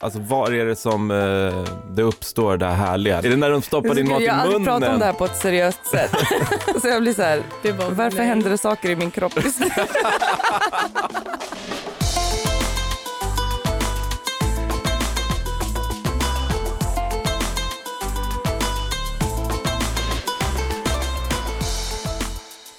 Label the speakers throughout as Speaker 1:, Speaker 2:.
Speaker 1: Alltså var är det som eh, det uppstår det här härliga? Är det när de stoppar din mat i
Speaker 2: jag har aldrig pratat om
Speaker 1: munnen?
Speaker 2: det här på ett seriöst sätt. så jag blir så här,
Speaker 3: Det var
Speaker 2: varför
Speaker 3: nej.
Speaker 2: händer det saker i min kropp just nu?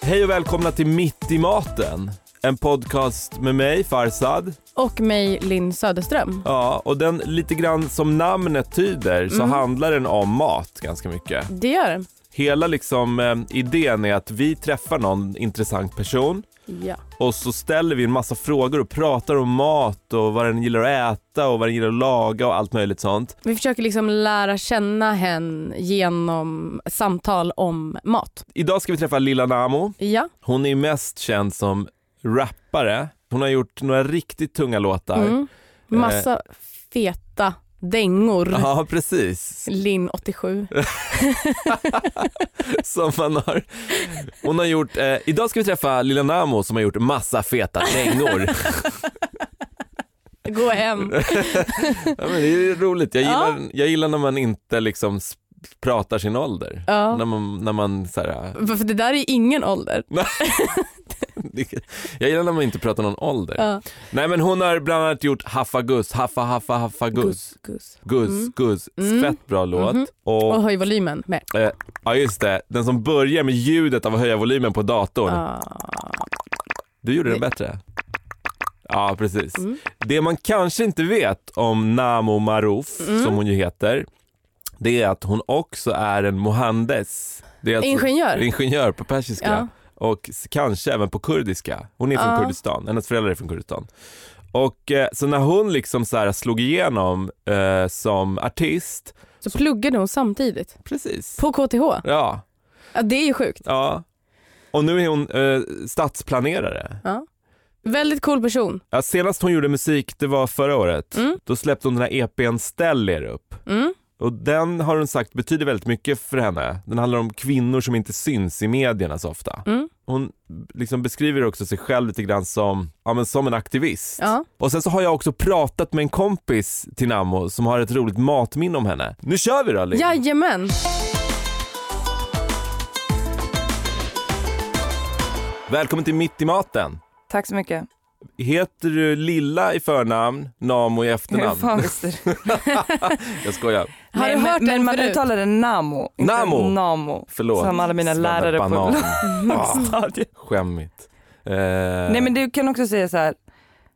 Speaker 1: Hej och välkomna till Mitt i maten. En podcast med mig, Farsad.
Speaker 3: Och mig, Linn Söderström.
Speaker 1: Ja, och den lite grann som namnet tyder så
Speaker 3: Mm.
Speaker 1: handlar den om mat ganska mycket.
Speaker 3: Det gör den.
Speaker 1: Hela liksom eh, idén är att vi träffar någon intressant person
Speaker 3: Ja.
Speaker 1: och så ställer vi en massa frågor och pratar om mat och vad den gillar att äta och vad den gillar att laga och allt möjligt sånt.
Speaker 3: Vi försöker liksom lära känna henne genom samtal om mat.
Speaker 1: Idag ska vi träffa Lilla Namo.
Speaker 3: Ja.
Speaker 1: Hon är mest känd som rappare. Hon har gjort några riktigt tunga låtar.
Speaker 3: Mm. Massa feta dängor.
Speaker 1: Ja, precis.
Speaker 3: Linn 87.
Speaker 1: Som man har. Hon har gjort, eh, idag ska vi träffa Lilla Namo som har gjort massa feta dängor.
Speaker 3: Gå hem.
Speaker 1: ja, men det är roligt. Jag
Speaker 3: Ja.
Speaker 1: gillar, jag gillar när man inte liksom s- pratar sin ålder. När
Speaker 3: Ja.
Speaker 1: man, när man så här,
Speaker 3: För för det där är ingen ålder.
Speaker 1: jag gillar när man inte pratar någon ålder.
Speaker 3: Ja.
Speaker 1: Nej men hon har bland annat gjort Haffa Gus, Haffa Haffa Haffa Gus.
Speaker 3: Gus.
Speaker 1: Gus,
Speaker 3: Mm.
Speaker 1: Gus.
Speaker 3: Mm.
Speaker 1: Fett bra låt.
Speaker 3: Mhm.
Speaker 1: Och
Speaker 3: Och höj volymen med.
Speaker 1: Ja just det, den som börjar med ljudet av att höja volymen på datorn.
Speaker 3: Ja.
Speaker 1: Du gjorde den bättre. Ja precis.
Speaker 3: Mm.
Speaker 1: Det man kanske inte vet om Namo Marouf,
Speaker 3: Mm.
Speaker 1: som hon ju heter, det är att hon också är en mohandes. Det är alltså
Speaker 3: Ingenjör.
Speaker 1: ingenjör på persiska
Speaker 3: Ja.
Speaker 1: och s- kanske även på kurdiska. Hon är från
Speaker 3: Ja.
Speaker 1: Kurdistan, hennes föräldrar är från Kurdistan. Och eh, så när hon liksom så här slog igenom eh, som artist,
Speaker 3: Så pluggade hon samtidigt.
Speaker 1: precis.
Speaker 3: På KTH.
Speaker 1: Ja,
Speaker 3: Ja, det är ju sjukt.
Speaker 1: Ja. Och nu är hon eh, stadsplanerare.
Speaker 3: Väldigt cool person.
Speaker 1: Ja, senast hon gjorde musik, det var förra året.
Speaker 3: Mm.
Speaker 1: Då släppte hon den här EPn Ställ er upp.
Speaker 3: Mm.
Speaker 1: Och den har hon sagt betyder väldigt mycket för henne. Den handlar om kvinnor som inte syns i medierna så ofta.
Speaker 3: Mm.
Speaker 1: Hon liksom beskriver också sig själv lite grann som, ja, men som en aktivist.
Speaker 3: Ja.
Speaker 1: Och sen så har jag också pratat med en kompis till Nammo som har ett roligt matminne om henne. Nu kör vi då Linn!
Speaker 3: Jajamän.
Speaker 1: Välkommen till Mitt i maten!
Speaker 2: Tack så mycket.
Speaker 1: Heter du Lilla i förnamn, Namo i
Speaker 2: Hur
Speaker 1: efternamn?
Speaker 2: fan visste du?
Speaker 1: Jag skojar.
Speaker 3: Har
Speaker 2: Nej,
Speaker 3: du hört
Speaker 2: men,
Speaker 3: den
Speaker 2: men man
Speaker 3: förut?
Speaker 2: uttalade Namo, inte
Speaker 1: Namo.
Speaker 2: Namo.
Speaker 1: Förlåt.
Speaker 2: Som alla mina lärare på
Speaker 1: Svennebanan. ah,
Speaker 2: lågstadiet.
Speaker 1: Skämmigt. Eh,
Speaker 2: Nej men du kan också säga så här,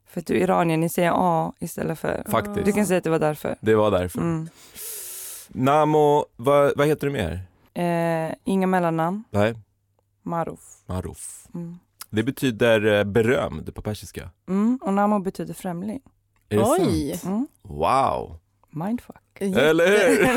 Speaker 2: för att du är iranier, ni säger A istället för.
Speaker 1: Faktiskt.
Speaker 2: Du kan säga att det var därför.
Speaker 1: Det var därför.
Speaker 2: Mm.
Speaker 1: Namo, vad, vad heter du mer?
Speaker 2: Eh, inga mellannamn,
Speaker 1: Nej,
Speaker 2: Maruf.
Speaker 1: Maruf.
Speaker 2: Mm.
Speaker 1: Det betyder eh, berömd på persiska.
Speaker 2: Mm. Och Namo betyder främling.
Speaker 1: Är det sant?
Speaker 3: Oj.
Speaker 2: Mm.
Speaker 1: Wow.
Speaker 2: Mindfuck.
Speaker 1: Eller hur?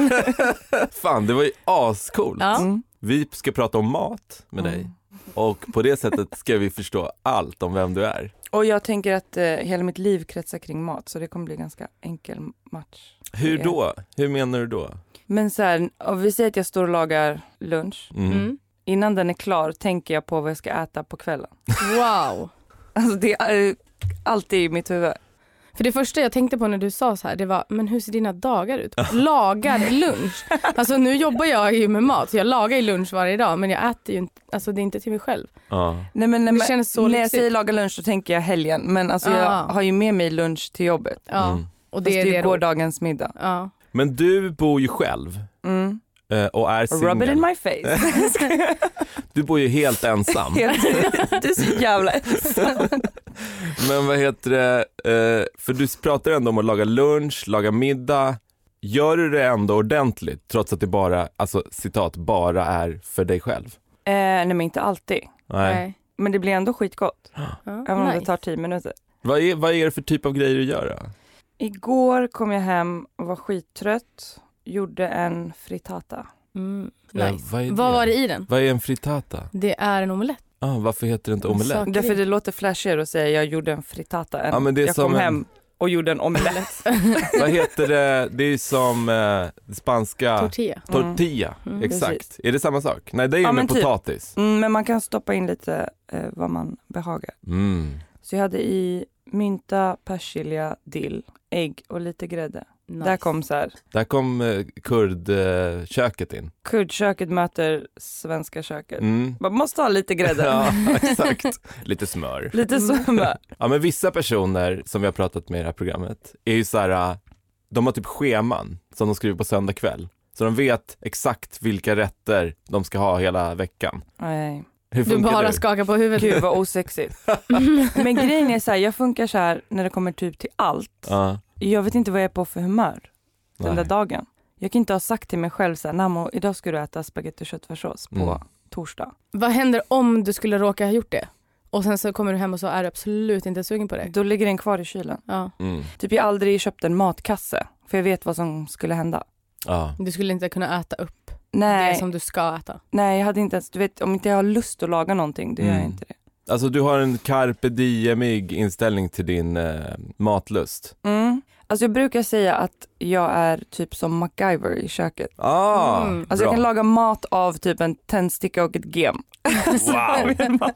Speaker 1: Fan, det var ju ascoolt.
Speaker 3: Ja.
Speaker 2: Mm.
Speaker 1: Vi ska prata om mat med dig
Speaker 2: Mm.
Speaker 1: och på det sättet ska vi förstå allt om vem du är.
Speaker 2: Och jag tänker att eh, hela mitt liv kretsar kring mat så det kommer bli ganska enkel match.
Speaker 1: Hur då? Hur menar du då?
Speaker 2: Men så här, om vi säger att jag står och lagar lunch.
Speaker 1: Mm.
Speaker 3: Mm.
Speaker 2: Innan den är klar tänker jag på vad jag ska äta på kvällen.
Speaker 3: Wow.
Speaker 2: Alltså det är eh, alltid i mitt huvud.
Speaker 3: För det första jag tänkte på när du sa så här, det var, men hur ser dina dagar ut? Lagar lunch. Alltså nu jobbar jag ju med mat, så jag lagar ju lunch varje dag, men jag äter ju inte, alltså det är inte till mig själv.
Speaker 1: Ja.
Speaker 2: Nej, men, när-
Speaker 3: Det känns så
Speaker 2: När jag
Speaker 3: lyxigt.
Speaker 2: säger laga lunch så tänker jag helgen. Men alltså jag
Speaker 3: Ah.
Speaker 2: har ju med mig lunch till jobbet.
Speaker 3: Ja,
Speaker 1: Mm.
Speaker 3: och
Speaker 2: Fast
Speaker 3: det är det då.
Speaker 2: gårdagens middag.
Speaker 3: Ja.
Speaker 1: Men du bor ju själv
Speaker 2: Mm.
Speaker 1: eh, och är
Speaker 2: Rub it in
Speaker 1: singel.
Speaker 2: my face.
Speaker 1: Du bor ju helt ensam.
Speaker 2: Helt- du är så jävla Eh, ensam.
Speaker 1: Men vad heter det, eh, för du pratar ändå om att laga lunch, laga middag. Gör du det ändå ordentligt trots att det bara, alltså citat, bara är för dig själv?
Speaker 2: eh, nej men inte alltid.
Speaker 3: Nej.
Speaker 2: Men det blir ändå skitgott. Även
Speaker 3: Ja,
Speaker 2: om det
Speaker 3: nice.
Speaker 2: tar tio minuter.
Speaker 1: Vad är, vad är det för typ av grejer du gör då?
Speaker 2: Igår kom jag hem och var skittrött. Gjorde en frittata.
Speaker 3: Mm.
Speaker 1: Eh,
Speaker 3: nice.
Speaker 1: vad, är
Speaker 3: Vad var det i den?
Speaker 1: Vad är en frittata?
Speaker 3: Det är en omelett.
Speaker 1: Ah, varför heter det inte omelett?
Speaker 3: Sak- Okej.
Speaker 2: Därför det låter flashigare att säga jag gjorde en frittata än
Speaker 1: Ja, men det är
Speaker 2: jag
Speaker 1: som
Speaker 2: kom
Speaker 1: en-
Speaker 2: hem och gjorde en omelett.
Speaker 1: vad heter det, det är ju som eh, det spanska
Speaker 3: Tortilla.
Speaker 1: tortilla.
Speaker 3: Mm,
Speaker 1: Exakt.
Speaker 2: precis.
Speaker 1: Är det samma sak? Nej, det är ju
Speaker 2: Ja,
Speaker 1: med
Speaker 2: men typ.
Speaker 1: potatis.
Speaker 2: Mm, men man kan stoppa in lite eh, vad man behagar.
Speaker 1: Mm.
Speaker 2: Så jag hade i mynta, persilja, dill, ägg och lite grädde. Där kom så här,
Speaker 1: Där kom eh, kurdköket in.
Speaker 2: kurdköket möter svenska köket.
Speaker 1: Mm.
Speaker 2: Man måste ha lite grädde.
Speaker 1: Ja, exakt. Lite smör.
Speaker 2: Lite sömma.
Speaker 1: Ja, men vissa personer som vi har pratat med i det här programmet är ju så här, äh, de har typ scheman som de skriver på söndag kväll. Så de vet exakt vilka rätter de ska ha hela veckan.
Speaker 2: Nej,
Speaker 1: Hur
Speaker 3: Du
Speaker 1: funkar
Speaker 3: bara
Speaker 1: du?
Speaker 3: skakar på huvudet.
Speaker 2: gud vad osexigt. Men grejen är så här, jag funkar så här när det kommer typ till allt.
Speaker 1: Ja,
Speaker 2: Jag vet inte vad jag är på för humör den
Speaker 1: nej.
Speaker 2: där dagen. Jag kan inte ha sagt till mig själv så här, Namo, idag ska du äta spagetti och köttfärssås på
Speaker 1: Mm.
Speaker 2: torsdag.
Speaker 3: Vad händer om du skulle råka ha gjort det? Och sen så kommer du hem och så är du absolut inte sugen på det.
Speaker 2: Då ligger den kvar i kylen.
Speaker 3: Ja.
Speaker 1: Mm.
Speaker 2: Typ jag har aldrig köpt en matkasse, för jag vet vad som skulle hända.
Speaker 1: Ja.
Speaker 3: Du skulle inte kunna äta upp det
Speaker 2: Nej,
Speaker 3: som du ska äta.
Speaker 2: nej jag hade inte ens, du vet om inte jag har lust att laga någonting, då gör jag
Speaker 1: Mm.
Speaker 2: inte det.
Speaker 1: Alltså du har en carpe diemig inställning till din eh, matlust.
Speaker 2: Mm. Alltså jag brukar säga att jag är typ som MacGyver i köket.
Speaker 1: Ah,
Speaker 3: Mm.
Speaker 2: Alltså
Speaker 1: bra.
Speaker 2: jag kan laga mat av typ en tändsticka och ett gem.
Speaker 1: Wow.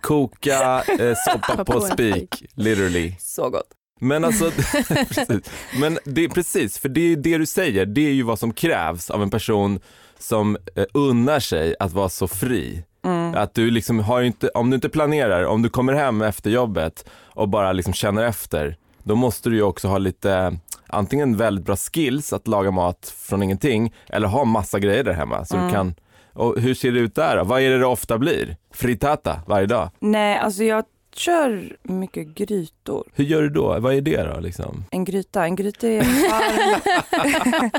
Speaker 1: Koka eh, soppa på spik, literally.
Speaker 2: Så gott.
Speaker 1: Men alltså, precis. Men det, precis, för det är ju det du säger, det är ju vad som krävs av en person som eh, unnar sig att vara så fri.
Speaker 2: Mm.
Speaker 1: Att du liksom har ju inte, om du inte planerar, om du kommer hem efter jobbet och bara liksom känner efter, då måste du ju också ha lite, antingen väldigt bra skills att laga mat från ingenting, eller ha massa grejer där hemma. Så
Speaker 2: Mm.
Speaker 1: du kan, och hur ser det ut där då? Vad är det det ofta blir? Frittata varje dag?
Speaker 2: Nej, alltså jag kör mycket grytor.
Speaker 1: Hur gör du då? Vad är det då liksom?
Speaker 2: En gryta, en gryta är varm.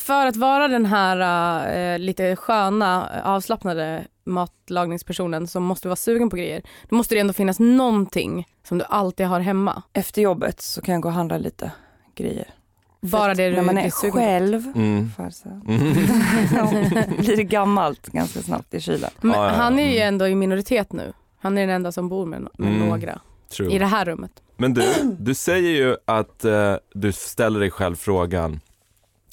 Speaker 3: För att vara den här eh, lite sköna, eh, avslappnade matlagningspersonen som måste vara sugen på grejer. Då måste det ändå finnas någonting som du alltid har hemma.
Speaker 2: Efter jobbet så kan jag gå och handla lite grejer. För
Speaker 3: Bara
Speaker 2: att
Speaker 3: det du
Speaker 2: När man
Speaker 3: är
Speaker 2: är
Speaker 3: sugen på.
Speaker 2: själv
Speaker 1: Mm.
Speaker 2: för så.
Speaker 1: Mm.
Speaker 2: blir det gammalt ganska snabbt i kylen.
Speaker 3: Men
Speaker 1: Ja, ja, ja.
Speaker 3: han är ju
Speaker 1: Mm.
Speaker 3: ändå i minoritet nu. Han är den enda som bor med, no- med
Speaker 1: Mm.
Speaker 3: några
Speaker 1: True.
Speaker 3: i det här rummet.
Speaker 1: Men du, du säger ju att eh, du ställer dig själv frågan,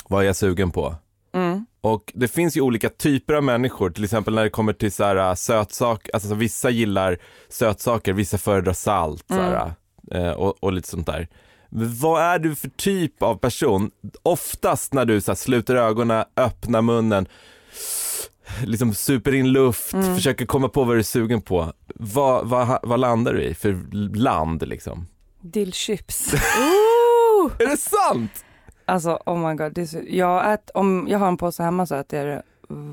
Speaker 1: vad är jag sugen på?
Speaker 2: Mm.
Speaker 1: Och det finns ju olika typer av människor, till exempel när det kommer till så här, eh, sötsaker, alltså så vissa gillar sötsaker, vissa föredrar salt så här, eh, och, och lite sånt där. Men Vad är du för typ av person? Oftast när du så här, sluter ögonen, öppnar munnen, liksom super in luft,
Speaker 2: Mm.
Speaker 1: försöker komma på vad du är sugen på. Vad, vad, vad landar du i för land liksom?
Speaker 2: Dillchips.
Speaker 1: Är det sant?
Speaker 2: Alltså oh my god, det är så, jag, ät, om jag har en påse hemma så äter jag det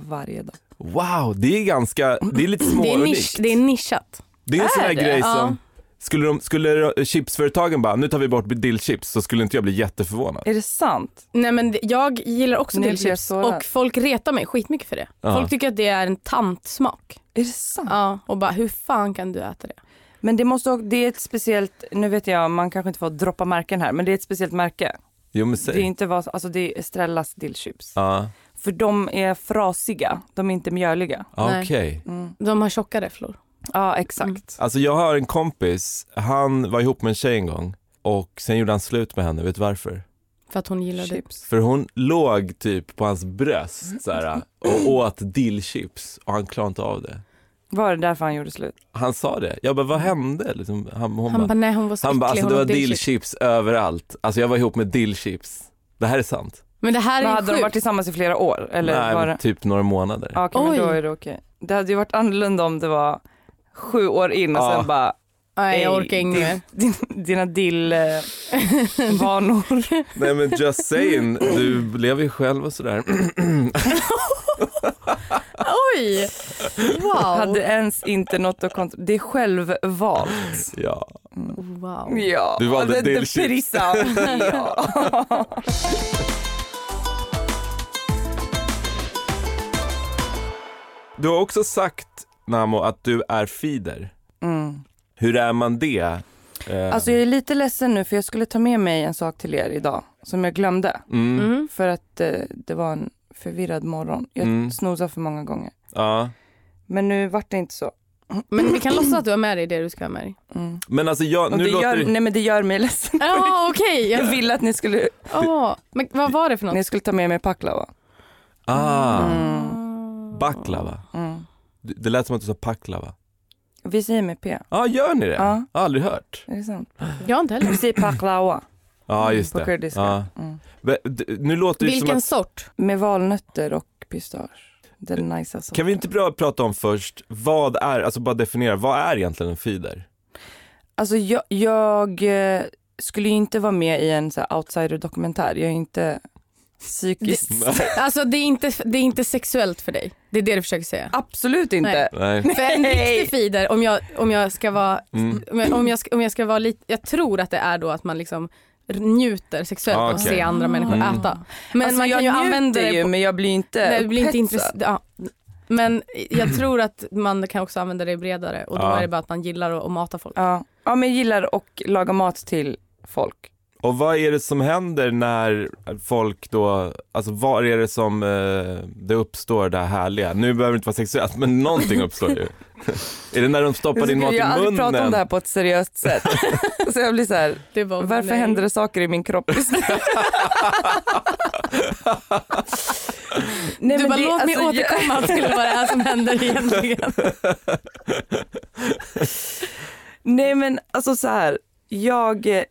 Speaker 2: varje dag.
Speaker 1: Wow, det är ganska, det är lite
Speaker 3: Det är,
Speaker 1: småunikt.
Speaker 3: nisch, det är nischat.
Speaker 1: Det är en sån här
Speaker 2: Är det?
Speaker 1: grej
Speaker 3: Ja.
Speaker 1: som, skulle, de, skulle chipsföretagen bara, nu tar vi bort dillchips så skulle inte jag bli jätteförvånad.
Speaker 2: Är det sant?
Speaker 3: Nej men det- jag gillar också
Speaker 2: Nu blir jag
Speaker 3: dillchips
Speaker 2: sårad.
Speaker 3: och folk retar mig skitmycket för det.
Speaker 1: Ja.
Speaker 3: Folk tycker att det är en tantsmak.
Speaker 2: Är det sant?
Speaker 3: Ja, och bara hur fan kan du äta det?
Speaker 2: Men det måste också- det är ett speciellt, nu vet jag man kanske inte får droppa märken här men det är ett speciellt märke.
Speaker 1: Jo men
Speaker 2: Det är
Speaker 1: säg.
Speaker 2: inte vad, alltså det är Estrellas dillchips.
Speaker 1: Ja,
Speaker 2: För de är frasiga, de är inte mjöliga.
Speaker 1: ah,
Speaker 3: Nej.
Speaker 1: okej.
Speaker 2: Mm.
Speaker 3: De har tjocka räfflor.
Speaker 2: Ja
Speaker 3: Mm.
Speaker 2: exakt.
Speaker 1: Alltså jag har en kompis, han var ihop med en tjej en gång och sen gjorde han slut med henne, vet du varför?
Speaker 3: För att hon gillar det.
Speaker 2: Chips.
Speaker 1: För hon låg typ på hans bröst så här, och åt dillchips och han klarade inte av det.
Speaker 2: Var det därför han gjorde slut?
Speaker 1: Han sa det, jag bara vad hände? Liksom, han, hon bara,
Speaker 3: Han bara nej hon var så
Speaker 1: Han bara,
Speaker 3: äcklig,
Speaker 1: alltså
Speaker 3: hon
Speaker 1: det var
Speaker 3: åt dillchips."
Speaker 1: dillchips överallt. Alltså jag var ihop med dillchips. Det här är sant.
Speaker 3: Men det här
Speaker 2: Men
Speaker 3: är
Speaker 2: hade de
Speaker 3: ju
Speaker 2: varit
Speaker 3: sjukt.
Speaker 2: tillsammans i flera år? Eller
Speaker 1: Nej,
Speaker 2: var
Speaker 1: men
Speaker 2: det...
Speaker 1: typ några månader.
Speaker 2: Ja, Okej, men
Speaker 3: Oj.
Speaker 2: då är det okej. Det hade ju varit annorlunda om det var sju år in och
Speaker 1: Ja.
Speaker 2: sen bara
Speaker 3: Nej jag
Speaker 2: "Ey,
Speaker 3: orkar inget
Speaker 2: din-
Speaker 3: mer.
Speaker 2: din- Dina dill-vanor.
Speaker 1: Nej men just saying, du blev ju själv och sådär.
Speaker 3: Oj! Wow.
Speaker 2: Hade ens inte något att kontrollera. Det är självvalt.
Speaker 1: Ja.
Speaker 3: wow.
Speaker 2: Ja,
Speaker 1: Du valde
Speaker 2: det- det
Speaker 1: dillchips.
Speaker 2: prisar. Ja.
Speaker 1: Du har också sagt Namo att du är feeder.
Speaker 2: Mm.
Speaker 1: Hur är man det? Eh,
Speaker 2: Alltså jag är lite ledsen nu för jag skulle ta med mig en sak till er idag som jag glömde.
Speaker 1: mm,
Speaker 3: Mm.
Speaker 2: För att eh, det var en förvirrad morgon. Jag
Speaker 1: Mm.
Speaker 2: snosade för många gånger.
Speaker 1: ja.
Speaker 2: Men nu vart det inte så.
Speaker 3: Men vi kan låtsas att du har med dig det du ska ha med dig.
Speaker 2: Mm.
Speaker 1: Men alltså jag,
Speaker 2: Och
Speaker 1: nu
Speaker 2: det
Speaker 1: låter
Speaker 2: gör,
Speaker 1: det-
Speaker 2: Nej men det gör mig ledsen.
Speaker 3: Ja okej.
Speaker 2: Jag
Speaker 3: Jag-
Speaker 2: ville att ni skulle,
Speaker 3: ja. Men vad var det för något?
Speaker 2: ni skulle ta med mig baklava.
Speaker 1: Ah,
Speaker 2: Mm.
Speaker 1: baklava.
Speaker 2: Mm.
Speaker 1: Det det lät som att du sa paklava.
Speaker 2: Vi säger med P.
Speaker 1: Ja, ah, gör ni det?
Speaker 2: Ja.
Speaker 1: Aldrig hört.
Speaker 2: Är det sant?
Speaker 3: Jag har inte heller.
Speaker 2: Vi säger baklava.
Speaker 1: Ja, Ja, just
Speaker 2: på
Speaker 1: det.
Speaker 2: kurdiska.
Speaker 1: Ja.
Speaker 2: Mm.
Speaker 1: Men d- Nu låter det ju som
Speaker 3: Vilken
Speaker 1: att,
Speaker 3: sort?
Speaker 2: Med valnötter och pistage. Den najsa sorten.
Speaker 1: kan vi inte bra prata om först, vad är, alltså bara definiera, vad är egentligen en feeder?
Speaker 2: Alltså jag, jag eh, skulle ju inte vara med i en så här outsider-dokumentär. Jag är inte psykiskt...
Speaker 3: Alltså det är, inte, det är inte sexuellt för dig. Det är det du försöker säga.
Speaker 2: Absolut inte.
Speaker 1: Nej.
Speaker 3: För en
Speaker 2: Nej.
Speaker 3: riktig feeder, om jag, om jag ska vara,
Speaker 1: Mm.
Speaker 3: om jag- om jag ska, om jag ska vara lite, jag tror att det är då att man liksom njuter sexuellt
Speaker 1: Ah,
Speaker 3: av att
Speaker 1: okej.
Speaker 3: se andra människor
Speaker 1: Mm.
Speaker 3: äta. Men
Speaker 2: alltså,
Speaker 3: man
Speaker 2: jag
Speaker 3: kan ju
Speaker 2: njuter
Speaker 3: använda det
Speaker 2: ju
Speaker 3: på,
Speaker 2: men jag blir inte
Speaker 3: nej, det blir inte
Speaker 2: upphetsad.
Speaker 3: intressant. Ja. Men jag tror att man kan också använda det bredare och då
Speaker 1: Ja.
Speaker 3: är det bara att man gillar att, att mata folk.
Speaker 2: Ja. ja men jag gillar att laga mat till folk.
Speaker 1: Och vad är det som händer när folk då, alltså vad är det som, eh, det uppstår det här härliga? Nu behöver det inte vara sexuellt men någonting uppstår ju. är det när de stoppar din mat i
Speaker 2: jag har aldrig pratat om det
Speaker 1: munnen?
Speaker 2: här på ett seriöst sätt. så jag blir så här,
Speaker 3: Det är bara,
Speaker 2: varför
Speaker 3: nej.
Speaker 2: händer det saker i min kropp just nu? Nej,
Speaker 3: du
Speaker 2: men
Speaker 3: bara
Speaker 2: det-
Speaker 3: låt mig
Speaker 2: alltså, jag-
Speaker 3: återkomma till vad det är som händer egentligen.
Speaker 2: Nej men alltså så här, jag, eh,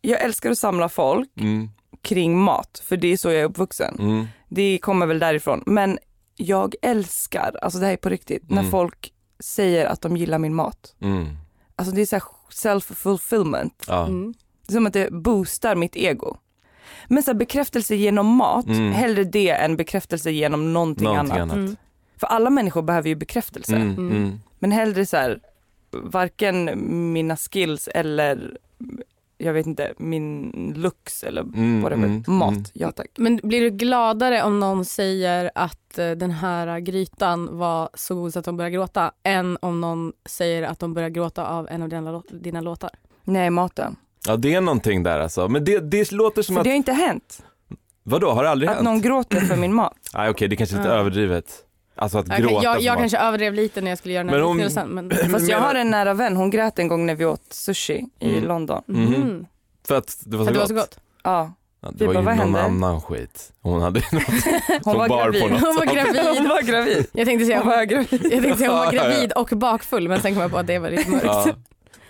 Speaker 2: jag älskar att samla folk
Speaker 1: Mm,
Speaker 2: kring mat, för det är så jag är uppvuxen.
Speaker 1: mm,
Speaker 2: Det kommer väl därifrån. Men jag älskar, alltså det här är på riktigt, när
Speaker 1: Mm.
Speaker 2: folk säger att de gillar min mat.
Speaker 1: mm,
Speaker 2: Alltså det är så här self-fulfillment.
Speaker 1: ja.
Speaker 3: Mm.
Speaker 2: Det är Som att det boostar mitt ego. Men så här, bekräftelse genom mat,
Speaker 1: Mm.
Speaker 2: hellre det än bekräftelse genom någonting,
Speaker 1: Någonting
Speaker 2: annat.
Speaker 1: annat.
Speaker 3: Mm.
Speaker 2: För alla människor behöver ju bekräftelse.
Speaker 1: Mm,
Speaker 3: Mm.
Speaker 1: mm.
Speaker 2: Men hellre så här, varken mina skills eller jag vet inte, min looks eller
Speaker 1: Mm,
Speaker 2: whatever.
Speaker 1: mm,
Speaker 2: Mat,
Speaker 1: mm.
Speaker 2: ja tack.
Speaker 3: Men blir du gladare om någon säger att eh, den här eh, grytan var så god så att de börjar gråta än om någon säger att de börjar gråta av en av dina, lå- dina låtar?
Speaker 2: Nej, maten.
Speaker 1: Ja det är någonting där alltså, men det, det låter som
Speaker 2: För
Speaker 1: att,
Speaker 2: det har inte hänt.
Speaker 1: vadå har det aldrig
Speaker 2: Att
Speaker 1: hänt?
Speaker 2: någon gråter för min mat.
Speaker 1: Nej okej det kanske är lite
Speaker 3: Ja.
Speaker 1: överdrivet. Alltså att
Speaker 3: Okej,
Speaker 1: gråta
Speaker 3: jag
Speaker 1: för
Speaker 3: jag
Speaker 1: mat.
Speaker 3: kanske överdrev lite när jag skulle göra den här
Speaker 1: Men om-
Speaker 3: liknelsen. Men...
Speaker 2: Fast jag
Speaker 1: menar-
Speaker 2: har en nära vän, hon grät en gång när vi åt sushi i
Speaker 1: Mm.
Speaker 2: London.
Speaker 1: Mhm.
Speaker 3: Mhm.
Speaker 1: För att det var
Speaker 3: För
Speaker 1: så
Speaker 3: att det var
Speaker 1: gott.
Speaker 3: så gott.
Speaker 2: Ja,
Speaker 1: Ja, det
Speaker 2: Vi
Speaker 1: var
Speaker 2: bara,
Speaker 1: ju någon
Speaker 2: vad händer?
Speaker 1: annan skit. Hon hade
Speaker 2: hon
Speaker 1: Som
Speaker 2: var
Speaker 1: bar på
Speaker 2: gravid.
Speaker 1: något.
Speaker 3: Hon var
Speaker 2: Hon
Speaker 3: gravid.
Speaker 2: var gravid.
Speaker 3: Jag tänkte säga
Speaker 2: Hon var gravid.
Speaker 3: jag tänkte säga hon var
Speaker 1: Ja, ja, ja.
Speaker 3: gravid och bakfull men sen kom jag på att det var lite mörkt.
Speaker 1: Ja.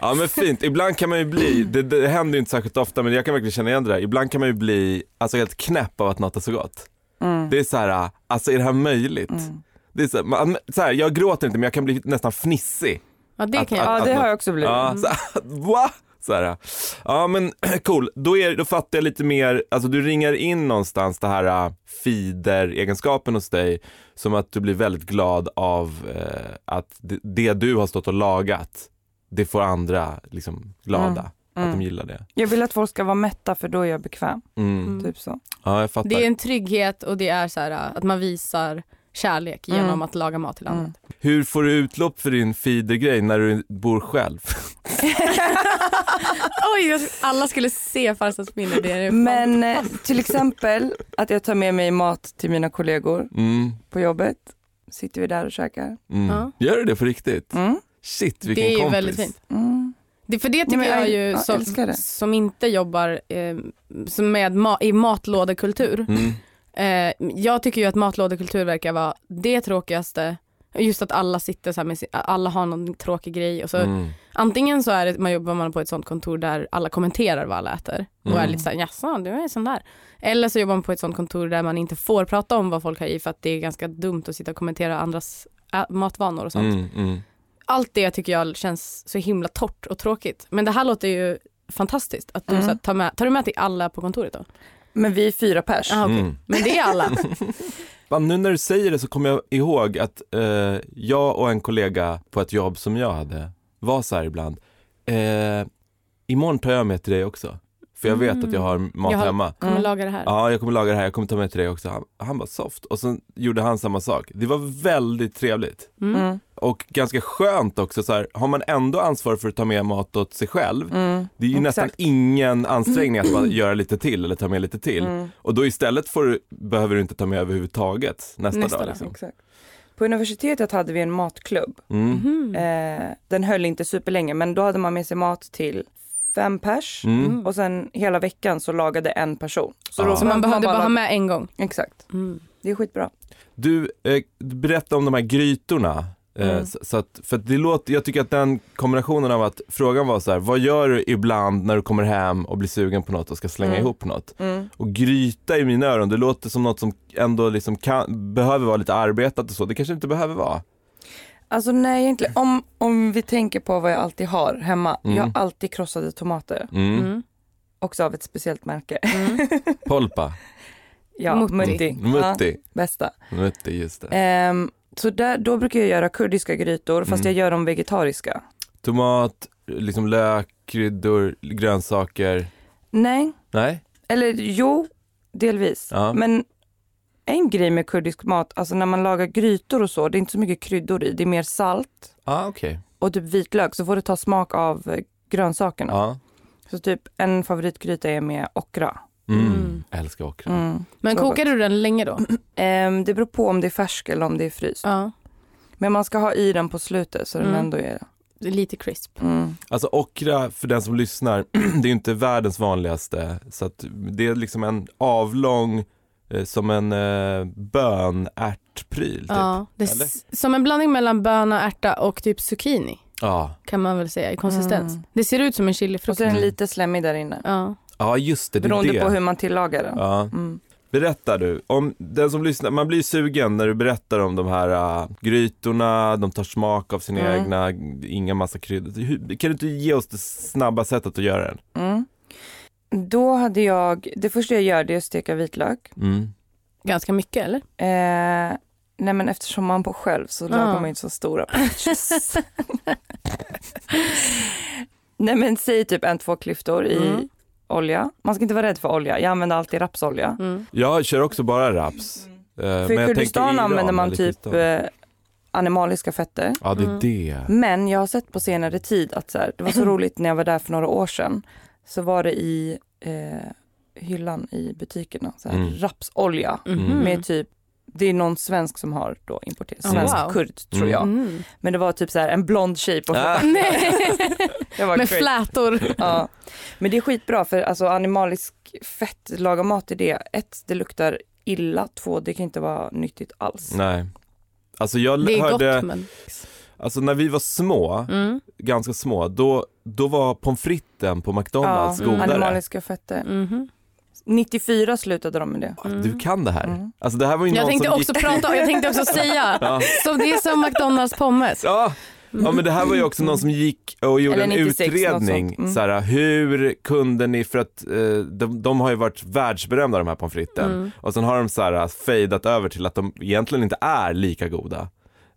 Speaker 1: ja men fint, ibland kan man ju bli, det, det händer ju inte särskilt ofta men jag kan verkligen känna igen det där, ibland kan man ju bli alltså, helt knäpp av att något är så gott.
Speaker 2: Mm.
Speaker 1: Det är så här, alltså är det här möjligt?
Speaker 2: Mm.
Speaker 1: Det är så här, man, så här, jag gråter inte men jag kan bli nästan fnissig.
Speaker 3: Ja, det kan jag.
Speaker 2: Ja, det har jag också blivit.
Speaker 1: Ja, så här, va? Så här, ja men cool, då, är, då fattar jag lite mer, alltså du ringar in någonstans det här äh, feeder-egenskapen hos dig som att du blir väldigt glad av eh, att det, det du har stått och lagat, det får andra liksom glada, att
Speaker 2: Mm.
Speaker 1: de gillar det.
Speaker 2: Jag vill att folk ska vara mätta för då är jag bekväm.
Speaker 1: Mm.
Speaker 3: Mm.
Speaker 2: Typ så.
Speaker 1: Ja, jag fattar.
Speaker 3: Det är en trygghet och det är så här, äh, att man visar kärlek genom
Speaker 2: Mm.
Speaker 3: att laga mat till andra.
Speaker 2: Mm.
Speaker 1: Hur får du utlopp för din feedergrej när du bor själv?
Speaker 3: Oj, jag- alla skulle se farsans minne. Det är det fan.
Speaker 2: Men eh, till exempel att jag tar med mig mat till mina kollegor
Speaker 1: Mm.
Speaker 2: på jobbet. Sitter vi där och käkar.
Speaker 1: Mm.
Speaker 3: Ja.
Speaker 1: Gör du det på riktigt?
Speaker 2: Mm.
Speaker 1: Shit vilken
Speaker 3: det är ju
Speaker 1: kompis.
Speaker 3: väldigt fint.
Speaker 2: Mm.
Speaker 3: Det, för det tycker
Speaker 2: men jag-
Speaker 3: jag, ju
Speaker 2: jag
Speaker 3: som,
Speaker 2: älskar det.
Speaker 3: som inte jobbar eh, som med ma- i matlådekultur.
Speaker 1: Mm.
Speaker 3: Eh, jag tycker ju att matlådekultur verkar vara det tråkigaste. Just att alla sitter så här med sin, alla har någon tråkig grej och så
Speaker 1: Mm.
Speaker 3: antingen så är det, man jobbar man på ett sånt kontor där alla kommenterar vad alla äter och är
Speaker 1: Mm.
Speaker 3: lite såhär jaså du är sån där. Eller så jobbar man på ett sånt kontor där man inte får prata om vad folk har i för att det är ganska dumt att sitta och kommentera andras ä, matvanor och sånt.
Speaker 1: Mm. Mm.
Speaker 3: allt det tycker jag känns så himla torrt och tråkigt. Men det här låter ju fantastiskt. Att du
Speaker 2: Mm.
Speaker 3: så här, tar, med, tar du med till alla på kontoret då?
Speaker 2: Men vi är fyra pers.
Speaker 3: Ja. Ah, okej.
Speaker 1: Mm.
Speaker 3: Men det är alla.
Speaker 1: Fan, nu när du säger det så kommer jag ihåg att eh, jag och en kollega på ett jobb som jag hade var så här ibland. Eh, imorgon tar jag med till dig också. För jag vet att jag har mat
Speaker 3: Jag har-
Speaker 1: hemma.
Speaker 3: Kommer
Speaker 2: Mm.
Speaker 3: laga det här.
Speaker 1: Ja, jag kommer laga det här, jag kommer ta med till dig också. Han, han bara soft. Och sen gjorde han samma sak. Det var väldigt trevligt.
Speaker 3: Mm.
Speaker 2: Mm.
Speaker 1: Och ganska skönt också, så här, har man ändå ansvar för att ta med mat åt sig själv,
Speaker 2: Mm.
Speaker 1: det är ju nästan
Speaker 2: Exakt.
Speaker 1: ingen ansträngning att bara göra lite till eller ta med lite till.
Speaker 2: Mm.
Speaker 1: Och då istället får du, behöver du inte ta med överhuvudtaget nästa,
Speaker 3: Nästa
Speaker 1: dag.
Speaker 3: dag.
Speaker 1: Liksom.
Speaker 2: Exakt. På universitetet hade vi en matklubb.
Speaker 1: Mm.
Speaker 3: Mhm.
Speaker 2: Eh, den höll inte superlänge men då hade man med sig mat till fem pers.
Speaker 1: Mm.
Speaker 2: Och sen hela veckan så lagade en person. Så,
Speaker 1: Ja.
Speaker 2: då
Speaker 1: Så
Speaker 3: Så man behövde bara ha med en gång.
Speaker 2: Exakt,
Speaker 3: Mm.
Speaker 2: det är skitbra.
Speaker 1: Du, eh, berätta om de här grytorna Eh,
Speaker 2: Mm.
Speaker 1: Så, så att, för att det låter, jag tycker att den kombinationen av att frågan var så här, vad gör du ibland när du kommer hem och blir sugen på något och ska slänga
Speaker 2: Mm.
Speaker 1: ihop något?
Speaker 2: Mm.
Speaker 1: Och gryta i mina öron, det låter som något som ändå liksom kan, behöver vara lite arbetat och så, det kanske inte behöver vara.
Speaker 2: Alltså nej egentligen, om, om vi tänker på vad jag alltid har hemma.
Speaker 1: Mm.
Speaker 2: Jag har alltid krossade tomater,
Speaker 1: Mm.
Speaker 3: Mm.
Speaker 2: också av ett speciellt märke.
Speaker 1: Polpa, Mm.
Speaker 2: Ja,
Speaker 3: Mutti.
Speaker 2: mutti. Ja,
Speaker 1: mutti,
Speaker 2: bästa.
Speaker 1: mutti just det.
Speaker 2: Ehm, så där, då brukar jag göra kurdiska grytor
Speaker 1: Mm.
Speaker 2: fast jag gör dem vegetariska.
Speaker 1: Tomat, liksom lök, kryddor, grönsaker.
Speaker 2: Nej,
Speaker 1: Nej?
Speaker 2: eller jo, delvis.
Speaker 1: Ja.
Speaker 2: Men en grej med kurdisk mat, alltså när man lagar grytor och så, det är inte så mycket kryddor i, det är mer salt
Speaker 1: ah, okej.
Speaker 2: och typ vitlök så får det ta smak av eh, grönsakerna.
Speaker 1: Ja.
Speaker 2: Så typ en favoritgryta är med okra.
Speaker 1: Mm.
Speaker 3: Mm.
Speaker 1: Älskar okra.
Speaker 2: Mm.
Speaker 3: Men
Speaker 2: Så
Speaker 3: kokar du den länge då?
Speaker 2: Ehm, det beror på om det är färsk eller om det är fryst.
Speaker 3: Ja.
Speaker 2: Men man ska ha i den på slutet så den
Speaker 3: Mm.
Speaker 2: ändå är...
Speaker 3: Det är Lite crisp.
Speaker 2: Mm.
Speaker 1: Alltså okra, för den som lyssnar, det är ju inte världens vanligaste. Så att det är liksom en avlång, eh, som en eh, bönärtpryl. Typ. Ja.
Speaker 3: Ja. Det är s- som en blandning mellan böna, ärta och typ zucchini
Speaker 1: Ja.
Speaker 3: kan man väl säga i konsistens.
Speaker 2: Mm.
Speaker 3: Det ser ut som en
Speaker 2: Och
Speaker 3: chilifrukt.
Speaker 2: så är den
Speaker 1: Mm.
Speaker 2: lite slemmig där inne.
Speaker 3: Ja.
Speaker 1: just det, det är
Speaker 2: Beroende
Speaker 1: det.
Speaker 2: på hur man tillagar den.
Speaker 1: Ja.
Speaker 2: Mm.
Speaker 1: Berättar du, om den som lyssnar, man blir sugen när du berättar om de här äh, grytorna, de tar smak av sina
Speaker 2: Mm.
Speaker 1: egna, inga massa kryddor. Hur, kan du inte ge oss det snabba sättet att göra den?
Speaker 2: Mm. Då hade jag, det första jag gör det är att steka vitlök.
Speaker 1: Mm.
Speaker 3: Ganska mycket eller?
Speaker 2: Eh, nej men eftersom man bor själv så
Speaker 3: Ja.
Speaker 2: lagar man ju inte så stora patches. nej men säg typ en, två klyftor i
Speaker 3: Mm.
Speaker 2: olja. Man ska inte vara rädd för olja, jag använder alltid rapsolja.
Speaker 3: Mm.
Speaker 1: Jag kör också bara raps. Eh, men
Speaker 2: Mm. För i
Speaker 1: jag tänker
Speaker 2: Kurdistan
Speaker 1: Iran
Speaker 2: använder man
Speaker 1: eller
Speaker 2: typ
Speaker 1: Kurdistan.
Speaker 2: eh, animaliska fetter.
Speaker 1: Ja det är
Speaker 3: Mm.
Speaker 1: det.
Speaker 2: Men jag har sett på senare tid att så här, det var så roligt när jag var där för några år sedan. Så var det i eh, hyllan i butikerna, så här,
Speaker 1: Mm.
Speaker 2: rapsolja
Speaker 3: Mhm.
Speaker 1: Mm.
Speaker 2: med typ det är någon svensk som har då importerat,
Speaker 3: Oh,
Speaker 2: svensk
Speaker 3: wow.
Speaker 2: kurd tror
Speaker 1: Mm.
Speaker 2: jag.
Speaker 3: Mm.
Speaker 2: Men det var typ så här en blond tjej på
Speaker 1: Ah.
Speaker 3: Nej.
Speaker 2: jag var
Speaker 3: Med
Speaker 2: crazy.
Speaker 3: flätor.
Speaker 2: ja. Men det är skitbra för alltså animalisk fett, laga mat i det. Ett, det luktar illa. Två, det kan inte vara nyttigt alls.
Speaker 1: Nej. Alltså jag
Speaker 3: Det är
Speaker 1: hörde,
Speaker 3: gott men.
Speaker 1: alltså när vi var små,
Speaker 3: Mm.
Speaker 1: ganska små, då, då var pommes fritesen på McDonalds
Speaker 2: Ja,
Speaker 3: mm.
Speaker 1: godare.
Speaker 2: Animaliska fetter.
Speaker 3: Mhm.
Speaker 2: 94 slutade de med det.
Speaker 1: Ah, Du kan det här.
Speaker 2: Mm.
Speaker 1: Alltså det här var ju
Speaker 3: Jag
Speaker 1: någon
Speaker 3: tänkte
Speaker 1: som
Speaker 3: också
Speaker 1: gick...
Speaker 3: prata, jag tänkte också säga.
Speaker 1: Ja.
Speaker 3: Så det är som McDonalds pommes.
Speaker 1: Ja. ja men det här var ju också någon som gick och gjorde
Speaker 2: Eller
Speaker 1: en
Speaker 2: 96, något
Speaker 1: utredning.
Speaker 2: sånt. Mm.
Speaker 1: Så här, hur kunde ni, för att eh, de, de har ju varit världsberömda de här pommes fritesen.
Speaker 3: Mm.
Speaker 1: Och sen har de så här fejdat över till att de egentligen inte är lika goda.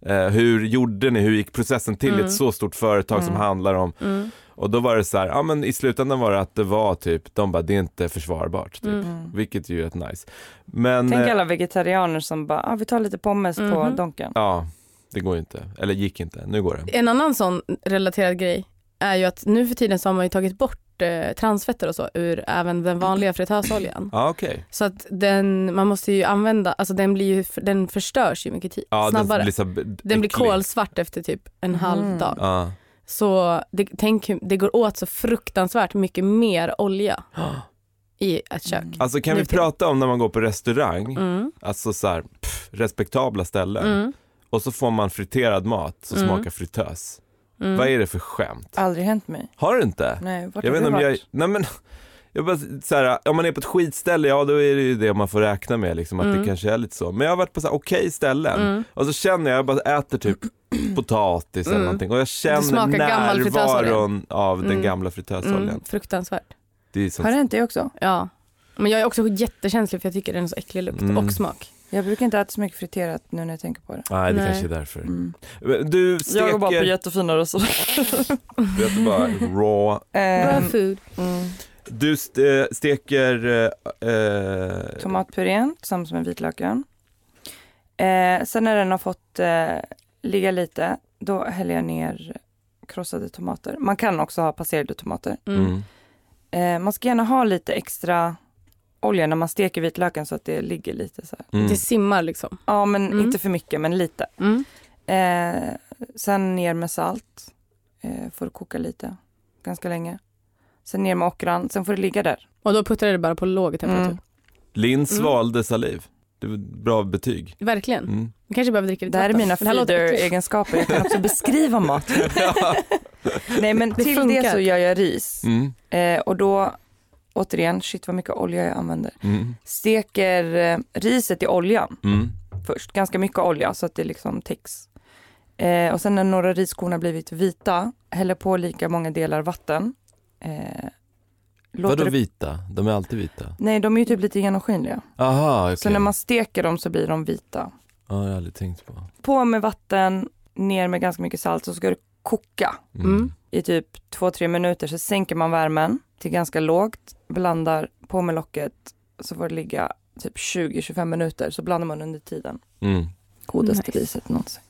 Speaker 1: Eh, hur gjorde ni, hur gick processen till i
Speaker 3: Mm.
Speaker 1: ett så stort företag som
Speaker 2: Mm.
Speaker 1: handlar om
Speaker 3: Mm.
Speaker 1: Och då var det så här, ja men i slutändan var det att det var typ, de bara det är inte försvarbart. Typ.
Speaker 3: Mm.
Speaker 2: Mm.
Speaker 1: Vilket ju är rätt nice. Men,
Speaker 2: Tänk
Speaker 1: eh,
Speaker 2: alla vegetarianer som bara, ah, vi tar lite pommes på
Speaker 3: Mhm.
Speaker 2: donken.
Speaker 1: ja det går ju inte. Eller gick inte, nu går det.
Speaker 3: En annan sån relaterad grej är ju att nu för tiden så har man ju tagit bort eh, transfetter och så ur även den vanliga fritösoljan.
Speaker 1: Ja okej.
Speaker 3: Så att den, man måste ju använda, alltså den, blir ju, den förstörs ju mycket tid,
Speaker 1: Ja,
Speaker 3: snabbare.
Speaker 1: Den blir, så här b-
Speaker 3: den blir
Speaker 1: äcklig.
Speaker 3: kolsvart efter typ en halv
Speaker 2: Mm.
Speaker 3: dag.
Speaker 1: Ja.
Speaker 3: Så det, tänk, hur- det går åt så fruktansvärt mycket mer olja i ett kök.
Speaker 2: Mm.
Speaker 1: Alltså kan vi
Speaker 3: Nu till-
Speaker 1: prata om när man går på restaurang,
Speaker 3: Mm.
Speaker 1: alltså så här, pff, respektabla ställen.
Speaker 3: Mm.
Speaker 1: Och så får man friterad mat som
Speaker 3: Mm.
Speaker 1: smakar fritös.
Speaker 3: Mm.
Speaker 1: Vad är det för skämt?
Speaker 2: Aldrig hänt mig.
Speaker 1: Har du inte?
Speaker 2: Nej, vart
Speaker 1: Jag vet
Speaker 2: har du
Speaker 1: inte om jag,
Speaker 2: varit?
Speaker 1: nej men, jag bara, så här, om man är på ett skitställe, ja då är det ju det man får räkna med liksom, att det
Speaker 3: Mm.
Speaker 1: kanske är lite så. Men jag har varit på så här okej ställen
Speaker 3: Mm.
Speaker 1: och så känner jag, jag bara äter typ potatis eller
Speaker 3: Mm.
Speaker 1: någonting och jag
Speaker 3: Det
Speaker 1: känner
Speaker 3: smakar gammal
Speaker 1: närvaron
Speaker 3: fritösolja.
Speaker 1: av den
Speaker 3: Mm.
Speaker 1: gamla fritösoljan.
Speaker 3: Mm. Fruktansvärt.
Speaker 1: Det är sånt,
Speaker 2: Har det hänt dig också?
Speaker 3: Ja. Men jag är också jättekänslig för jag tycker den är så äcklig lukt
Speaker 1: Mm.
Speaker 3: och smak.
Speaker 2: Jag brukar inte äta så mycket friterat nu när jag tänker på det.
Speaker 1: nej det
Speaker 3: Nej.
Speaker 1: kanske är därför.
Speaker 2: Mm.
Speaker 1: Du steker,
Speaker 2: Jag går bara på jättefina
Speaker 1: du äter bara raw.
Speaker 3: Bra
Speaker 2: restauranger.
Speaker 3: food.
Speaker 2: Mm.
Speaker 1: Du st- eh, steker, eh, eh,
Speaker 2: Tomatpurén tillsammans med vitlöken. Eh, sen när den har fått eh, ligga lite, då häller jag ner krossade tomater. Man kan också ha passerade tomater.
Speaker 3: Mm.
Speaker 1: mm.
Speaker 2: Eh, man ska gärna ha lite extra olja när man steker vitlöken så att det ligger lite så här.
Speaker 1: Mm.
Speaker 3: Det simmar liksom.
Speaker 2: Ja, men
Speaker 3: Mm.
Speaker 2: inte för mycket, men lite.
Speaker 3: Mm.
Speaker 2: Eh, sen ner med salt. Eh, får det koka lite, ganska länge. Sen ner med ockran, sen får det ligga där.
Speaker 3: Och då puttrar det bara på låg temperatur.
Speaker 2: Mm.
Speaker 1: Linn
Speaker 3: Mm.
Speaker 1: svalde saliv. Det var ett bra betyg.
Speaker 3: Verkligen.
Speaker 1: Mm.
Speaker 3: Vi kanske behöver dricka
Speaker 2: Det
Speaker 3: lite
Speaker 2: här är
Speaker 3: vatten.
Speaker 2: mina
Speaker 3: Det här låter äckligt.
Speaker 2: feeder-egenskaper. Jag kan också beskriva mat. Nej men
Speaker 3: Det
Speaker 2: till det
Speaker 3: funkar.
Speaker 2: så gör jag ris.
Speaker 1: Mm.
Speaker 2: Eh, och då, återigen, shit vad mycket olja jag använder.
Speaker 1: Mm.
Speaker 2: Steker eh, riset i oljan
Speaker 1: Mm.
Speaker 2: först. Ganska mycket olja så att det liksom täcks. Eh, och sen när några riskorn har blivit vita, häller på lika många delar vatten. Eh, låter
Speaker 1: Vadå
Speaker 2: det...
Speaker 1: vita? De är alltid vita.
Speaker 2: Nej, de är ju typ lite genomskinliga.
Speaker 1: Aha, okej.
Speaker 2: Så när man steker dem så blir de vita.
Speaker 1: Ja, jag har aldrig tänkt på.
Speaker 2: På med vatten, ner med ganska mycket salt så ska det koka
Speaker 3: Mm.
Speaker 2: i typ 2-3 minuter. Så sänker man värmen till ganska lågt, blandar på med locket så får det ligga typ 20-25 minuter så blandar man under tiden.
Speaker 1: Mm.
Speaker 2: Godaste
Speaker 3: Nice.
Speaker 2: riset någonsin.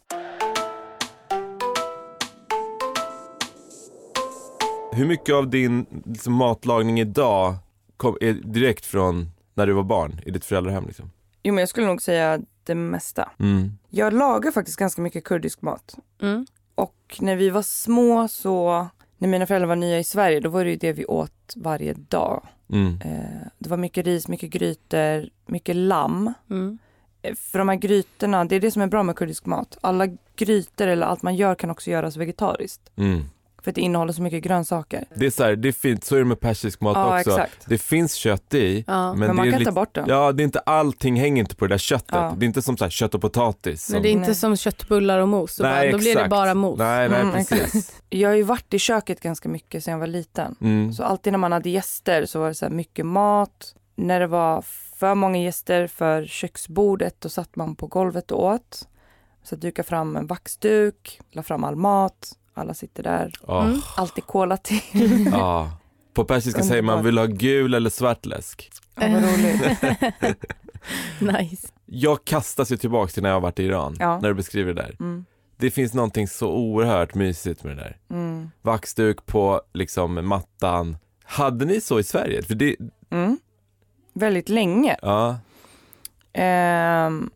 Speaker 1: Hur mycket av din liksom, matlagning idag kom, är direkt från när du var barn i ditt föräldrahem? Liksom?
Speaker 2: Jo men jag skulle nog säga det mesta.
Speaker 1: Mm.
Speaker 2: Jag lagar faktiskt ganska mycket kurdisk mat.
Speaker 3: Mm.
Speaker 2: Och när vi var små så, när mina föräldrar var nya i Sverige, då var det ju det vi åt varje dag.
Speaker 1: Mm.
Speaker 2: Eh, det var mycket ris, mycket grytor, mycket lamm.
Speaker 3: Mm.
Speaker 2: Eh, För de här grytorna, det är det som är bra med kurdisk mat. Alla grytor eller allt man gör kan också göras vegetariskt.
Speaker 1: Mm.
Speaker 2: För att det innehåller så mycket grönsaker.
Speaker 1: Det är så här, det är fint, så är det med persisk mat
Speaker 2: ja,
Speaker 1: också.
Speaker 2: exakt.
Speaker 1: Det finns kött i,
Speaker 3: Ja.
Speaker 2: Men,
Speaker 1: det
Speaker 2: man
Speaker 1: är
Speaker 2: kan
Speaker 1: lite-
Speaker 2: ta bort den.
Speaker 1: Ja, det är inte allting hänger inte på det där köttet.
Speaker 2: Ja.
Speaker 1: Det är inte som så här, kött och potatis. Som...
Speaker 3: Men det är inte
Speaker 2: Nej.
Speaker 3: som köttbullar och mos. Så
Speaker 1: Nej,
Speaker 3: bara, då blir det
Speaker 1: exakt.
Speaker 3: bara mos.
Speaker 1: Nej, nej
Speaker 2: Mm,
Speaker 1: precis.
Speaker 2: Jag har ju varit i köket ganska mycket sedan jag var liten.
Speaker 1: Mm.
Speaker 2: Så alltid när man hade gäster så var det så här mycket mat. När det var för många gäster för köksbordet då satt man på golvet och åt. Så duka fram en vaxduk, la fram all mat, alla sitter där.
Speaker 1: Åh,
Speaker 3: Mm.
Speaker 2: Alltid kola till.
Speaker 1: ja. På persiska säger man
Speaker 2: Underbart.
Speaker 1: vill du ha gul eller svart läsk.
Speaker 2: Ja, vad roligt.
Speaker 3: nice.
Speaker 1: Jag kastas ju tillbaka till när jag har varit i Iran,
Speaker 2: Ja.
Speaker 1: när du beskriver det där.
Speaker 2: Mm,
Speaker 1: Det finns någonting så oerhört mysigt med det där.
Speaker 2: mm,
Speaker 1: Vaxduk på liksom mattan. Hade ni så i Sverige? För det,
Speaker 2: mm. Väldigt länge.
Speaker 1: ja,
Speaker 2: Ehm,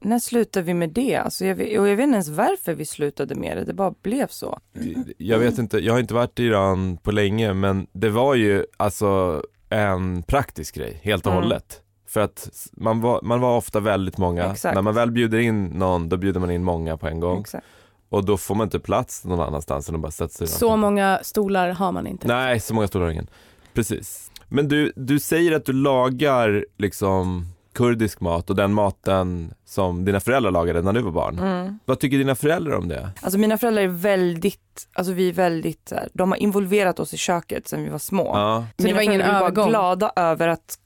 Speaker 2: när slutade vi med det? Alltså jag, vet- och jag vet inte ens varför vi slutade med det, det bara blev så.
Speaker 1: det- jag vet inte, jag har inte varit i Iran på länge men det var ju alltså en praktisk grej helt och
Speaker 2: Mm.
Speaker 1: hållet. För att s- man var, man var ofta väldigt många.
Speaker 2: Exakt.
Speaker 1: När man väl bjuder in någon då bjuder man in många på en gång.
Speaker 2: Exakt.
Speaker 1: Och då får man inte plats någon annanstans än att bara sätta sig
Speaker 3: Så många stolar har man inte.
Speaker 1: Nej, så många stolar har ingen. Precis. Men du, du säger att du lagar liksom kurdisk mat och den maten som dina föräldrar lagade när du var barn.
Speaker 2: Mm.
Speaker 1: Vad tycker dina föräldrar om det?
Speaker 2: Alltså mina föräldrar är väldigt, alltså vi är väldigt, så här, de har involverat oss i köket sedan vi var små.
Speaker 1: Ja.
Speaker 3: Så det var ingen
Speaker 2: föräldrar
Speaker 3: övergång?
Speaker 2: bara glada över att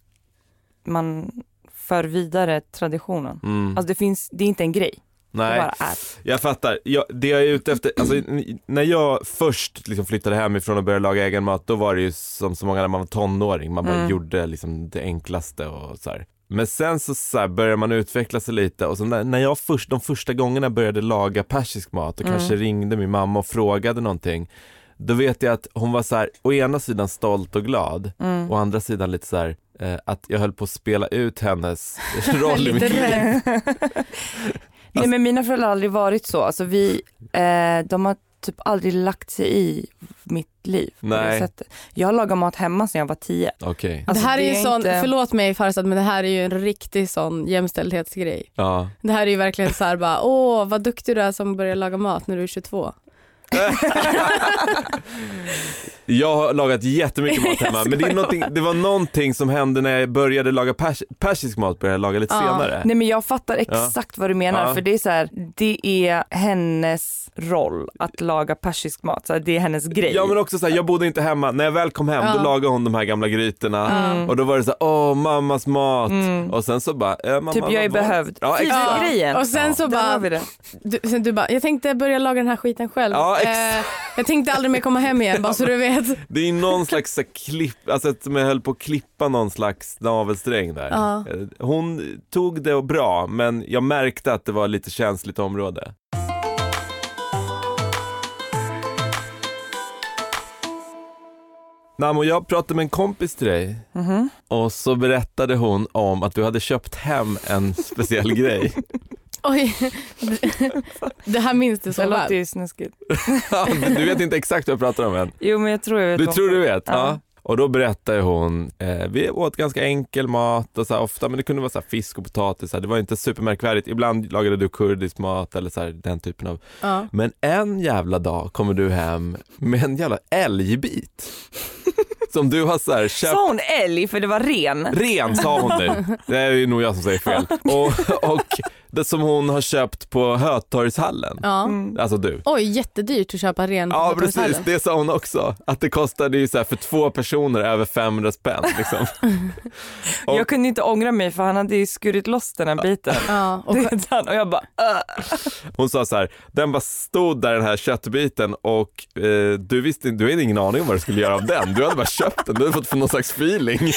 Speaker 2: man för vidare traditionen.
Speaker 1: Mm.
Speaker 2: Alltså det finns, det är inte en grej, det
Speaker 1: Nej,
Speaker 2: bara är.
Speaker 1: jag fattar. Jag, det jag är ute efter, alltså, n- när jag först liksom flyttade hemifrån och började laga egen mat, då var det ju som så många när man var tonåring, man bara
Speaker 2: Mm.
Speaker 1: gjorde liksom det enklaste och så här. Men sen så, så här, började man utveckla sig lite och så när, när jag först, de första gångerna började laga persisk mat och
Speaker 2: Mm.
Speaker 1: kanske ringde min mamma och frågade någonting, då vet jag att hon var så här, å ena sidan stolt och glad,
Speaker 2: Mm.
Speaker 1: å andra sidan lite så här, eh, att jag höll på att spela ut hennes roll i
Speaker 3: Lite
Speaker 1: mitt liv.
Speaker 3: rädd.
Speaker 2: Nej men mina föräldrar har aldrig varit så, alltså vi, eh, de har typ aldrig lagt sig i mitt liv på
Speaker 1: Nej.
Speaker 2: det sättet. Jag lagade mat hemma sedan jag var tio.
Speaker 1: Okej,
Speaker 2: Alltså,
Speaker 3: det här är ju en sån,
Speaker 2: inte-
Speaker 3: förlåt mig Farzad men det här är ju en riktig sån jämställdhetsgrej.
Speaker 1: ja.
Speaker 3: Det här är ju verkligen så här bara, åh vad duktig du är som börjar laga mat när du är 22.
Speaker 1: Jag har lagat jättemycket mat hemma men det, är någonting, det var någonting som hände när jag började laga pers, persisk mat började jag laga lite
Speaker 3: Ja.
Speaker 1: senare.
Speaker 2: Nej men jag fattar exakt vad du menar
Speaker 1: Ja.
Speaker 2: för det är så här, det är hennes roll att laga persisk mat, så här, det är hennes grej.
Speaker 1: Ja men också såhär, jag bodde inte hemma. När jag väl kom hem då
Speaker 3: Ja.
Speaker 1: lagade hon de här gamla grytorna
Speaker 3: Mm.
Speaker 1: och då var det såhär, åh mammas mat.
Speaker 2: Mm.
Speaker 1: Och sen så bara, eh, mamma,
Speaker 2: Typ jag är
Speaker 1: vad var-
Speaker 2: behövd.
Speaker 1: Ja,
Speaker 2: Fy,
Speaker 1: exakt.
Speaker 2: vad grejen.
Speaker 3: Och sen så
Speaker 2: Där har
Speaker 3: bara,
Speaker 2: vi det.
Speaker 3: du, sen du bara, jag tänkte börja laga den här skiten själv.
Speaker 1: Ja,
Speaker 3: eh, jag tänkte aldrig mer komma hem igen bara så du vet.
Speaker 1: Det är någon slags så här klipp, alltså att jag höll på att klippa någon slags navelsträng där.
Speaker 3: Ja.
Speaker 1: Eh, Hon tog det bra men jag märkte att det var lite känsligt område. Namo, jag pratade med en kompis till dig
Speaker 2: Mhm.
Speaker 1: och så berättade hon om att du hade köpt hem en speciell grej.
Speaker 3: Oj, det här minns du
Speaker 2: Det
Speaker 3: så
Speaker 2: låter
Speaker 3: väl.
Speaker 2: ju snuskigt.
Speaker 1: Ja, du vet inte exakt vad jag pratar om än.
Speaker 2: Jo men jag tror jag vet
Speaker 1: Du
Speaker 2: vad-
Speaker 1: tror du vet? Ja.
Speaker 2: Ja.
Speaker 1: Och då berättade hon, eh, vi åt ganska enkel mat och så här, ofta, men det kunde vara så här, fisk och potatis, så här, det var inte supermärkvärdigt. Ibland lagade du kurdisk mat eller så här, den typen av.
Speaker 3: Ja.
Speaker 1: Men en jävla dag kommer du hem med en jävla älgbit. som du har så här, köpt
Speaker 2: Sa hon älg för det var ren?
Speaker 1: Ren sa hon nu. Det är ju nog jag som säger fel. Och, och det som hon har köpt på Hötorgshallen.
Speaker 3: ja.
Speaker 2: Mm.
Speaker 1: Alltså du.
Speaker 3: Oj, jättedyrt att köpa ren
Speaker 1: Ja
Speaker 3: potatis
Speaker 1: precis,
Speaker 3: heller.
Speaker 1: det sa hon också. Att det kostade ju så här för två personer över 500 spänn. Liksom. Och-
Speaker 2: Jag kunde inte ångra mig för han hade ju skurit loss den här biten.
Speaker 3: Ja, och
Speaker 2: Redan. Och jag bara, "Äh." "Åh."
Speaker 1: Hon sa så här, den bara stod där den här köttbiten och eh, du visste inte- du hade ingen aning om vad du skulle göra av den. Du hade bara köpt den, du hade fått för någon slags feeling.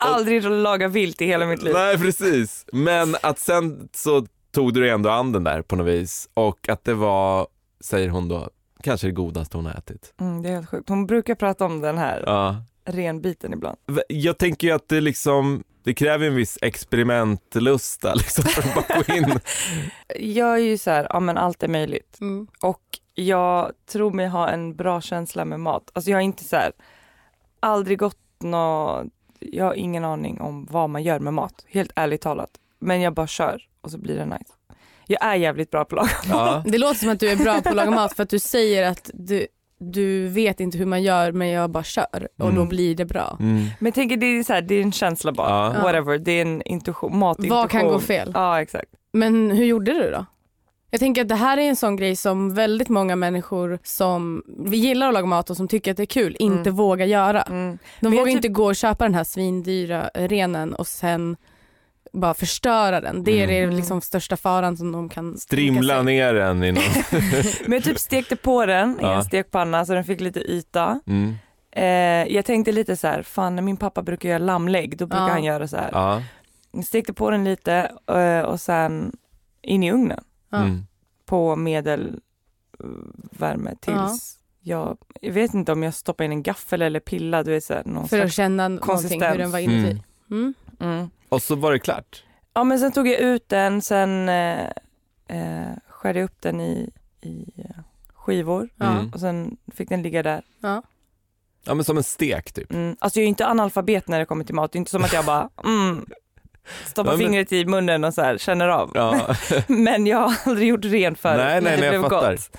Speaker 2: aldrig laga vilt i hela mitt liv.
Speaker 1: Nej precis, men att sen så tog du ändå an den där på något vis och att det var, säger hon då, kanske det godaste hon har ätit.
Speaker 2: Mm, det är helt sjukt. Hon brukar prata om den här
Speaker 1: Ja.
Speaker 2: renbiten ibland.
Speaker 1: V- Jag tänker ju att det liksom, det kräver en viss experimentlusta liksom för att bara gå in.
Speaker 2: Jag är ju så här, ja men allt är möjligt.
Speaker 3: Mm.
Speaker 2: Och jag tror mig ha en bra känsla med mat. Alltså jag har inte så här, aldrig gått nå... Jag har ingen aning om vad man gör med mat, helt ärligt talat. Men jag bara kör och så blir det nice. Jag är jävligt bra på lag.
Speaker 1: Ja.
Speaker 3: Det låter som att du är bra på att laga mat för att du säger att du, du vet inte hur man gör men jag bara kör och
Speaker 1: Mm.
Speaker 3: då blir det bra.
Speaker 1: Mm.
Speaker 2: Men tänk er, det är så här, det är en känsla bara.
Speaker 1: Ja.
Speaker 2: Whatever, det är en intuition, matintuition.
Speaker 3: Vad kan gå fel?
Speaker 2: Ja exakt.
Speaker 3: Men hur gjorde du då? Jag tänker att det här är en sån grej som väldigt många människor som gillar att laga mat och som tycker att det är kul inte
Speaker 2: Mm.
Speaker 3: vågar göra.
Speaker 2: Mm.
Speaker 3: De
Speaker 2: Men jag
Speaker 3: vågar
Speaker 2: typ-
Speaker 3: inte gå och köpa den här svindyra renen och sen bara förstöra den. Det är
Speaker 1: Mm.
Speaker 3: det liksom största faran som de kan tänka
Speaker 1: Strimla
Speaker 3: sig.
Speaker 1: ner den i någon...
Speaker 2: Men jag typ stekte på den i
Speaker 1: Ja.
Speaker 2: en stekpanna så den fick lite yta.
Speaker 1: Mm.
Speaker 2: Eh, jag tänkte lite så här, fan när min pappa brukar göra lammlägg då brukar
Speaker 3: Ja.
Speaker 2: han göra så här.
Speaker 1: Ja.
Speaker 2: stekte på den lite eh, och sen in i ugnen
Speaker 3: Ja.
Speaker 1: Mm.
Speaker 2: på medelvärme tills jag, jag vet inte om jag stoppade in en gaffel eller pilla, du vet såhär någon
Speaker 3: För att
Speaker 2: slags-
Speaker 3: känna någonting, hur
Speaker 2: konsistens.
Speaker 3: den var inuti.
Speaker 1: Mm.
Speaker 3: Mm.
Speaker 2: mm.
Speaker 1: Och så var det klart.
Speaker 2: Ja men sen tog jag ut den, sen eh, eh, skärde jag upp den i, i eh, skivor
Speaker 3: Ja.
Speaker 1: Mm.
Speaker 2: och sen fick den ligga där.
Speaker 3: Ja.
Speaker 1: Ja men som en stek typ.
Speaker 2: Mm. Alltså jag är ju inte analfabet när det kommer till mat, det är inte som att jag bara mm, stoppar
Speaker 1: Ja, men-
Speaker 2: fingret i munnen och så här, känner av.
Speaker 1: Ja.
Speaker 2: Men jag har aldrig gjort ren förut,
Speaker 1: Nej, nej,
Speaker 2: men det
Speaker 1: nej, jag
Speaker 2: blev
Speaker 1: fattar.
Speaker 2: gott.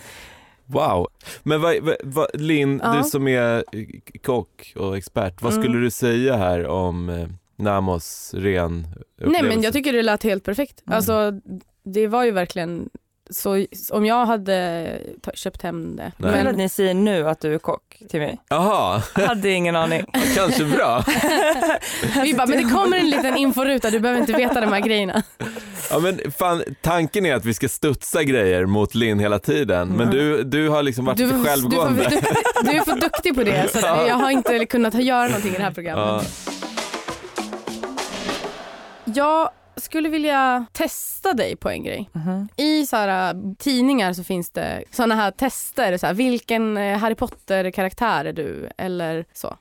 Speaker 1: Wow. Men vad, vad, vad, Linn,
Speaker 3: Ja.
Speaker 1: du som är eh, kock och expert, vad
Speaker 2: Mm.
Speaker 1: skulle du säga här om eh, Namos ren
Speaker 3: Nej
Speaker 1: upplevelse?
Speaker 3: men jag tycker det lät helt perfekt.
Speaker 2: Mm.
Speaker 3: Alltså det var ju verkligen så om jag hade ta- köpt hem det.
Speaker 1: Nej.
Speaker 2: Kul
Speaker 3: Men,
Speaker 2: att ni säger nu att du är kock till mig.
Speaker 1: Jaha,
Speaker 2: Jag hade ingen aning.
Speaker 1: kanske bra.
Speaker 2: Alltså,
Speaker 3: vi bara, men det kommer en liten inforuta, du behöver inte veta de här grejerna.
Speaker 1: Ja, men fan, tanken är att vi ska studsa grejer mot Linn hela tiden, men
Speaker 2: Mm.
Speaker 1: du, du har liksom varit
Speaker 3: Du,
Speaker 1: lite
Speaker 3: du, får,
Speaker 1: självgående.
Speaker 3: du, du är för duktig på det så att jag har inte kunnat göra någonting i det här programmet.
Speaker 1: Ja.
Speaker 3: Jag skulle vilja testa dig på en grej.
Speaker 2: Mhm,
Speaker 3: I så här, äh, tidningar så finns det såna här tester. Så här, vilken eh, Harry Potter-karaktär är du? Eller så.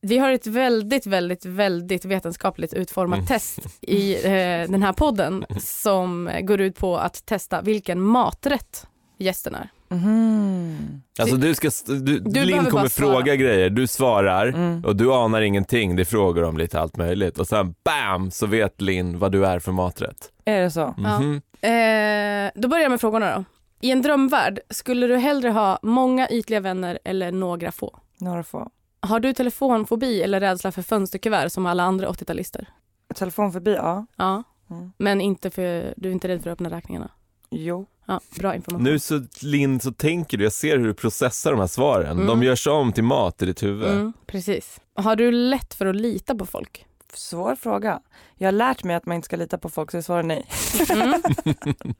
Speaker 3: Vi har ett väldigt, väldigt, väldigt vetenskapligt utformat
Speaker 1: Mm.
Speaker 3: test i eh, den här podden som eh, går ut på att testa vilken maträtt gästen är.
Speaker 2: Mhm.
Speaker 1: Alltså du ska, st- du,
Speaker 3: behöver
Speaker 1: Linn
Speaker 3: bara
Speaker 1: kommer
Speaker 3: svara.
Speaker 1: fråga grejer, du svarar
Speaker 2: Mm.
Speaker 1: och du anar ingenting, det är frågor om lite allt möjligt och sen BAM så vet Linn vad du är för maträtt.
Speaker 2: Är det så?
Speaker 3: Ja.
Speaker 1: Mhm.
Speaker 3: Eh, då börjar jag med frågorna då. I en drömvärld, skulle du hellre ha många ytliga vänner eller några få?
Speaker 2: Några få.
Speaker 3: Har du telefonfobi eller rädsla för fönsterkuvert som alla andra 80-talister?
Speaker 2: Telefon förbi, ja.
Speaker 3: Ja,
Speaker 2: Mm.
Speaker 3: men inte för, du är inte rädd för att öppna räkningarna?
Speaker 2: Jo.
Speaker 3: Ja, bra information.
Speaker 1: Nu så Linn så tänker du, jag ser hur du processar de här svaren.
Speaker 3: Mm.
Speaker 1: De görs om till mat i ditt huvud.
Speaker 3: Mm, precis. Har du lätt för att lita på folk?
Speaker 2: Svår fråga. Jag har lärt mig att man inte ska lita på folk så jag svarar nej.
Speaker 3: Mm.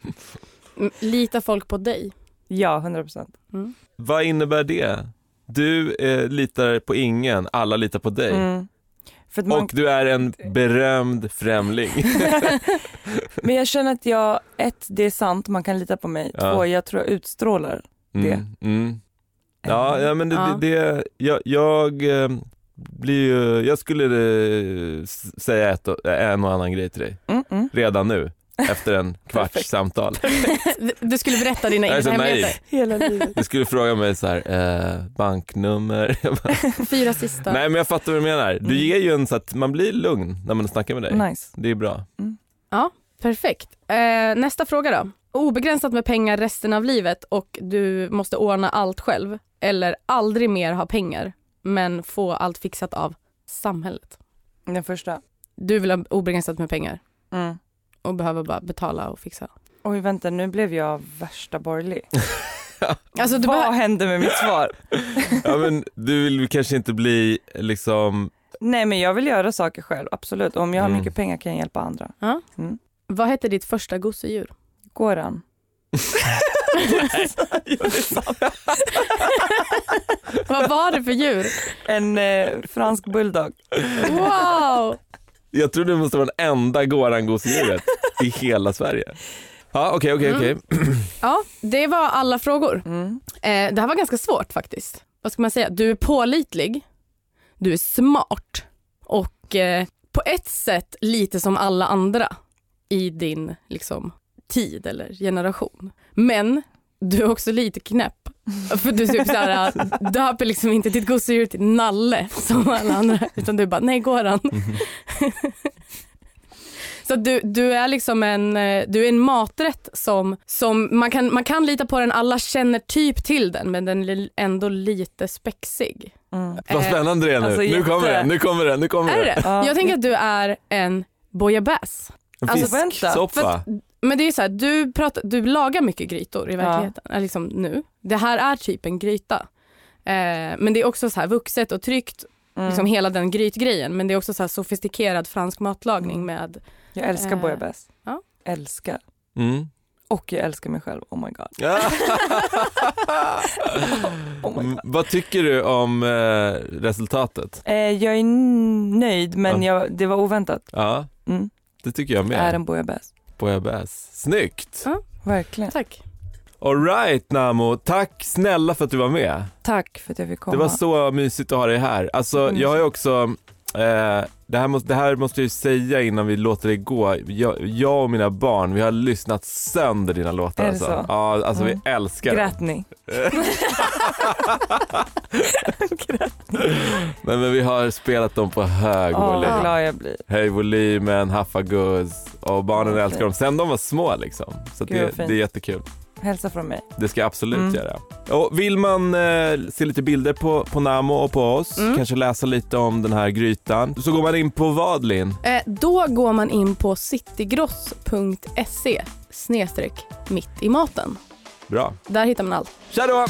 Speaker 3: Mm, Litar folk på dig?
Speaker 2: Ja, 100 procent.
Speaker 3: Mm.
Speaker 1: Vad innebär det? Du eh, litar på ingen, alla litar på dig.
Speaker 2: Mm. För att man,
Speaker 1: Och du är en berömd främling.
Speaker 2: men jag känner att jag, ett, det är sant, man kan lita på mig.
Speaker 1: Ja.
Speaker 2: Två, jag tror jag utstrålar. Det.
Speaker 1: Mm. Ja, ja, men det,
Speaker 3: Ja.
Speaker 1: det, det jag, jag eh, blir ju, jag skulle eh, s- säga ett, och- en och annan grej till dig
Speaker 2: Mm, mm.
Speaker 1: redan nu. efter en kvarts
Speaker 2: Perfekt.
Speaker 1: samtal.
Speaker 3: Du skulle berätta dina
Speaker 1: Jag är så
Speaker 3: egna
Speaker 1: naiv.
Speaker 3: hemligheter.
Speaker 2: Hela livet.
Speaker 1: Du skulle fråga mig så här, eh, banknummer. Jag bara,
Speaker 3: Fyra sista.
Speaker 1: Nej men jag fattar vad du menar.
Speaker 2: Mm.
Speaker 1: Du ger ju en så att man blir lugn när man snackar med dig.
Speaker 2: Nice.
Speaker 1: Det är bra.
Speaker 3: Perfekt. Eh, nästa fråga då. Obegränsat med pengar resten av livet och du måste ordna allt själv. Eller aldrig mer ha pengar men få allt fixat av samhället.
Speaker 2: Den första.
Speaker 3: Du vill ha obegränsat med pengar
Speaker 2: Mm.
Speaker 3: och behöver bara betala och fixa.
Speaker 2: Oj vänta nu blev jag värsta borgerlig.
Speaker 3: Alltså du
Speaker 2: Vad
Speaker 3: behöver...
Speaker 2: hände med mitt svar?
Speaker 1: Ja, men du vill kanske inte bli liksom,
Speaker 2: Nej men jag vill göra saker själv, absolut. Om jag har
Speaker 1: Mm.
Speaker 2: mycket pengar kan jag hjälpa andra.
Speaker 3: Vad hette ditt första gosedjur?
Speaker 2: Goran.
Speaker 3: Vad var det för djur?
Speaker 2: En eh, fransk bulldog.
Speaker 3: Wow!
Speaker 1: jag tror du måste vara den enda gårangosedjuret i hela Sverige. Ja okej okej okej.
Speaker 3: Ja, det var alla frågor.
Speaker 2: Mm.
Speaker 3: Eh, det här var ganska svårt faktiskt. Vad ska man säga? Du är pålitlig, du är smart och eh, på ett sätt lite som alla andra i din liksom, tid eller generation. Men du är också lite knäpp. För du typ såhär, döper liksom inte ditt gosedjur till Nalle som alla andra utan du bara, nej Goran.
Speaker 2: Mhm.
Speaker 3: Så att du, du är liksom en, eh, du är en maträtt som, som man, kan, man kan lita på den, alla känner typ till den men den är ändå lite spexig.
Speaker 2: Mm.
Speaker 1: Vad
Speaker 3: Eh,
Speaker 1: spännande det är nu.
Speaker 2: alltså,
Speaker 1: nu kommer
Speaker 2: jätte-
Speaker 1: den, nu kommer den, nu kommer
Speaker 3: Är
Speaker 1: den.
Speaker 3: det?
Speaker 2: Ja.
Speaker 3: Jag tänker att du är en bouillabaisse.
Speaker 1: En
Speaker 3: Alltså,
Speaker 2: vänta.
Speaker 1: fisksoppa.
Speaker 3: För att- Men det är ju så här, du, pratar, du lagar mycket grytor i verkligheten, eh, liksom nu. Det här är typ en gryta. Eh, men det är också så här vuxet och tryggt,
Speaker 2: Mm.
Speaker 3: liksom hela den grytgrejen. Men det är också så här sofistikerad fransk
Speaker 2: Mm.
Speaker 3: matlagning med
Speaker 2: jag älskar
Speaker 3: eh,
Speaker 2: bouillabaisse.
Speaker 3: ja.
Speaker 2: Älskar.
Speaker 1: mm.
Speaker 2: Och jag älskar mig själv, oh my god. Oh my
Speaker 1: Mm, Vad tycker du om eh, resultatet?
Speaker 2: Eh, jag är n- nöjd men
Speaker 1: Ja.
Speaker 2: jag, det var oväntat.
Speaker 1: Ja,
Speaker 2: Mm.
Speaker 1: det tycker jag
Speaker 2: Det är
Speaker 1: med.
Speaker 2: en bouillabaisse.
Speaker 1: Bouillabaisse. Snyggt!
Speaker 2: Verkligen.
Speaker 3: Tack.
Speaker 1: Alright Namo, tack snälla för att du var med.
Speaker 2: Tack för att jag fick komma. Mm.
Speaker 1: Det var så mysigt att ha dig här. Alltså jag har ju också, eh, det, här måste, det här måste jag ju säga innan vi låter det gå. Jag, jag och mina barn, vi har lyssnat sönder dina låtar.
Speaker 2: Är det
Speaker 1: alltså.
Speaker 2: så?
Speaker 1: Ja, alltså
Speaker 2: Mm.
Speaker 1: vi älskar dem.
Speaker 2: Grät ni?
Speaker 1: Nej, men vi har spelat dem på hög
Speaker 2: Åh,
Speaker 1: volym.
Speaker 2: vad glad jag blir.
Speaker 1: Höj volymen, haffa guzz och barnen
Speaker 2: Okej.
Speaker 1: älskar dem sen de var små liksom. Så att
Speaker 2: Gud,
Speaker 1: det,
Speaker 2: vad
Speaker 1: det
Speaker 2: fint.
Speaker 1: är jättekul.
Speaker 2: Hälsa från mig.
Speaker 1: Det ska jag absolut
Speaker 2: Mm.
Speaker 1: göra. Och vill man eh, se lite bilder på, på Namo och på oss,
Speaker 3: Mm.
Speaker 1: kanske läsa lite om den här grytan, så går man in på vad Linn?
Speaker 3: Eh, då går man in på citygross.se snedstreck mitt i maten.
Speaker 1: Bra.
Speaker 3: Där hittar man allt.
Speaker 1: Tja då!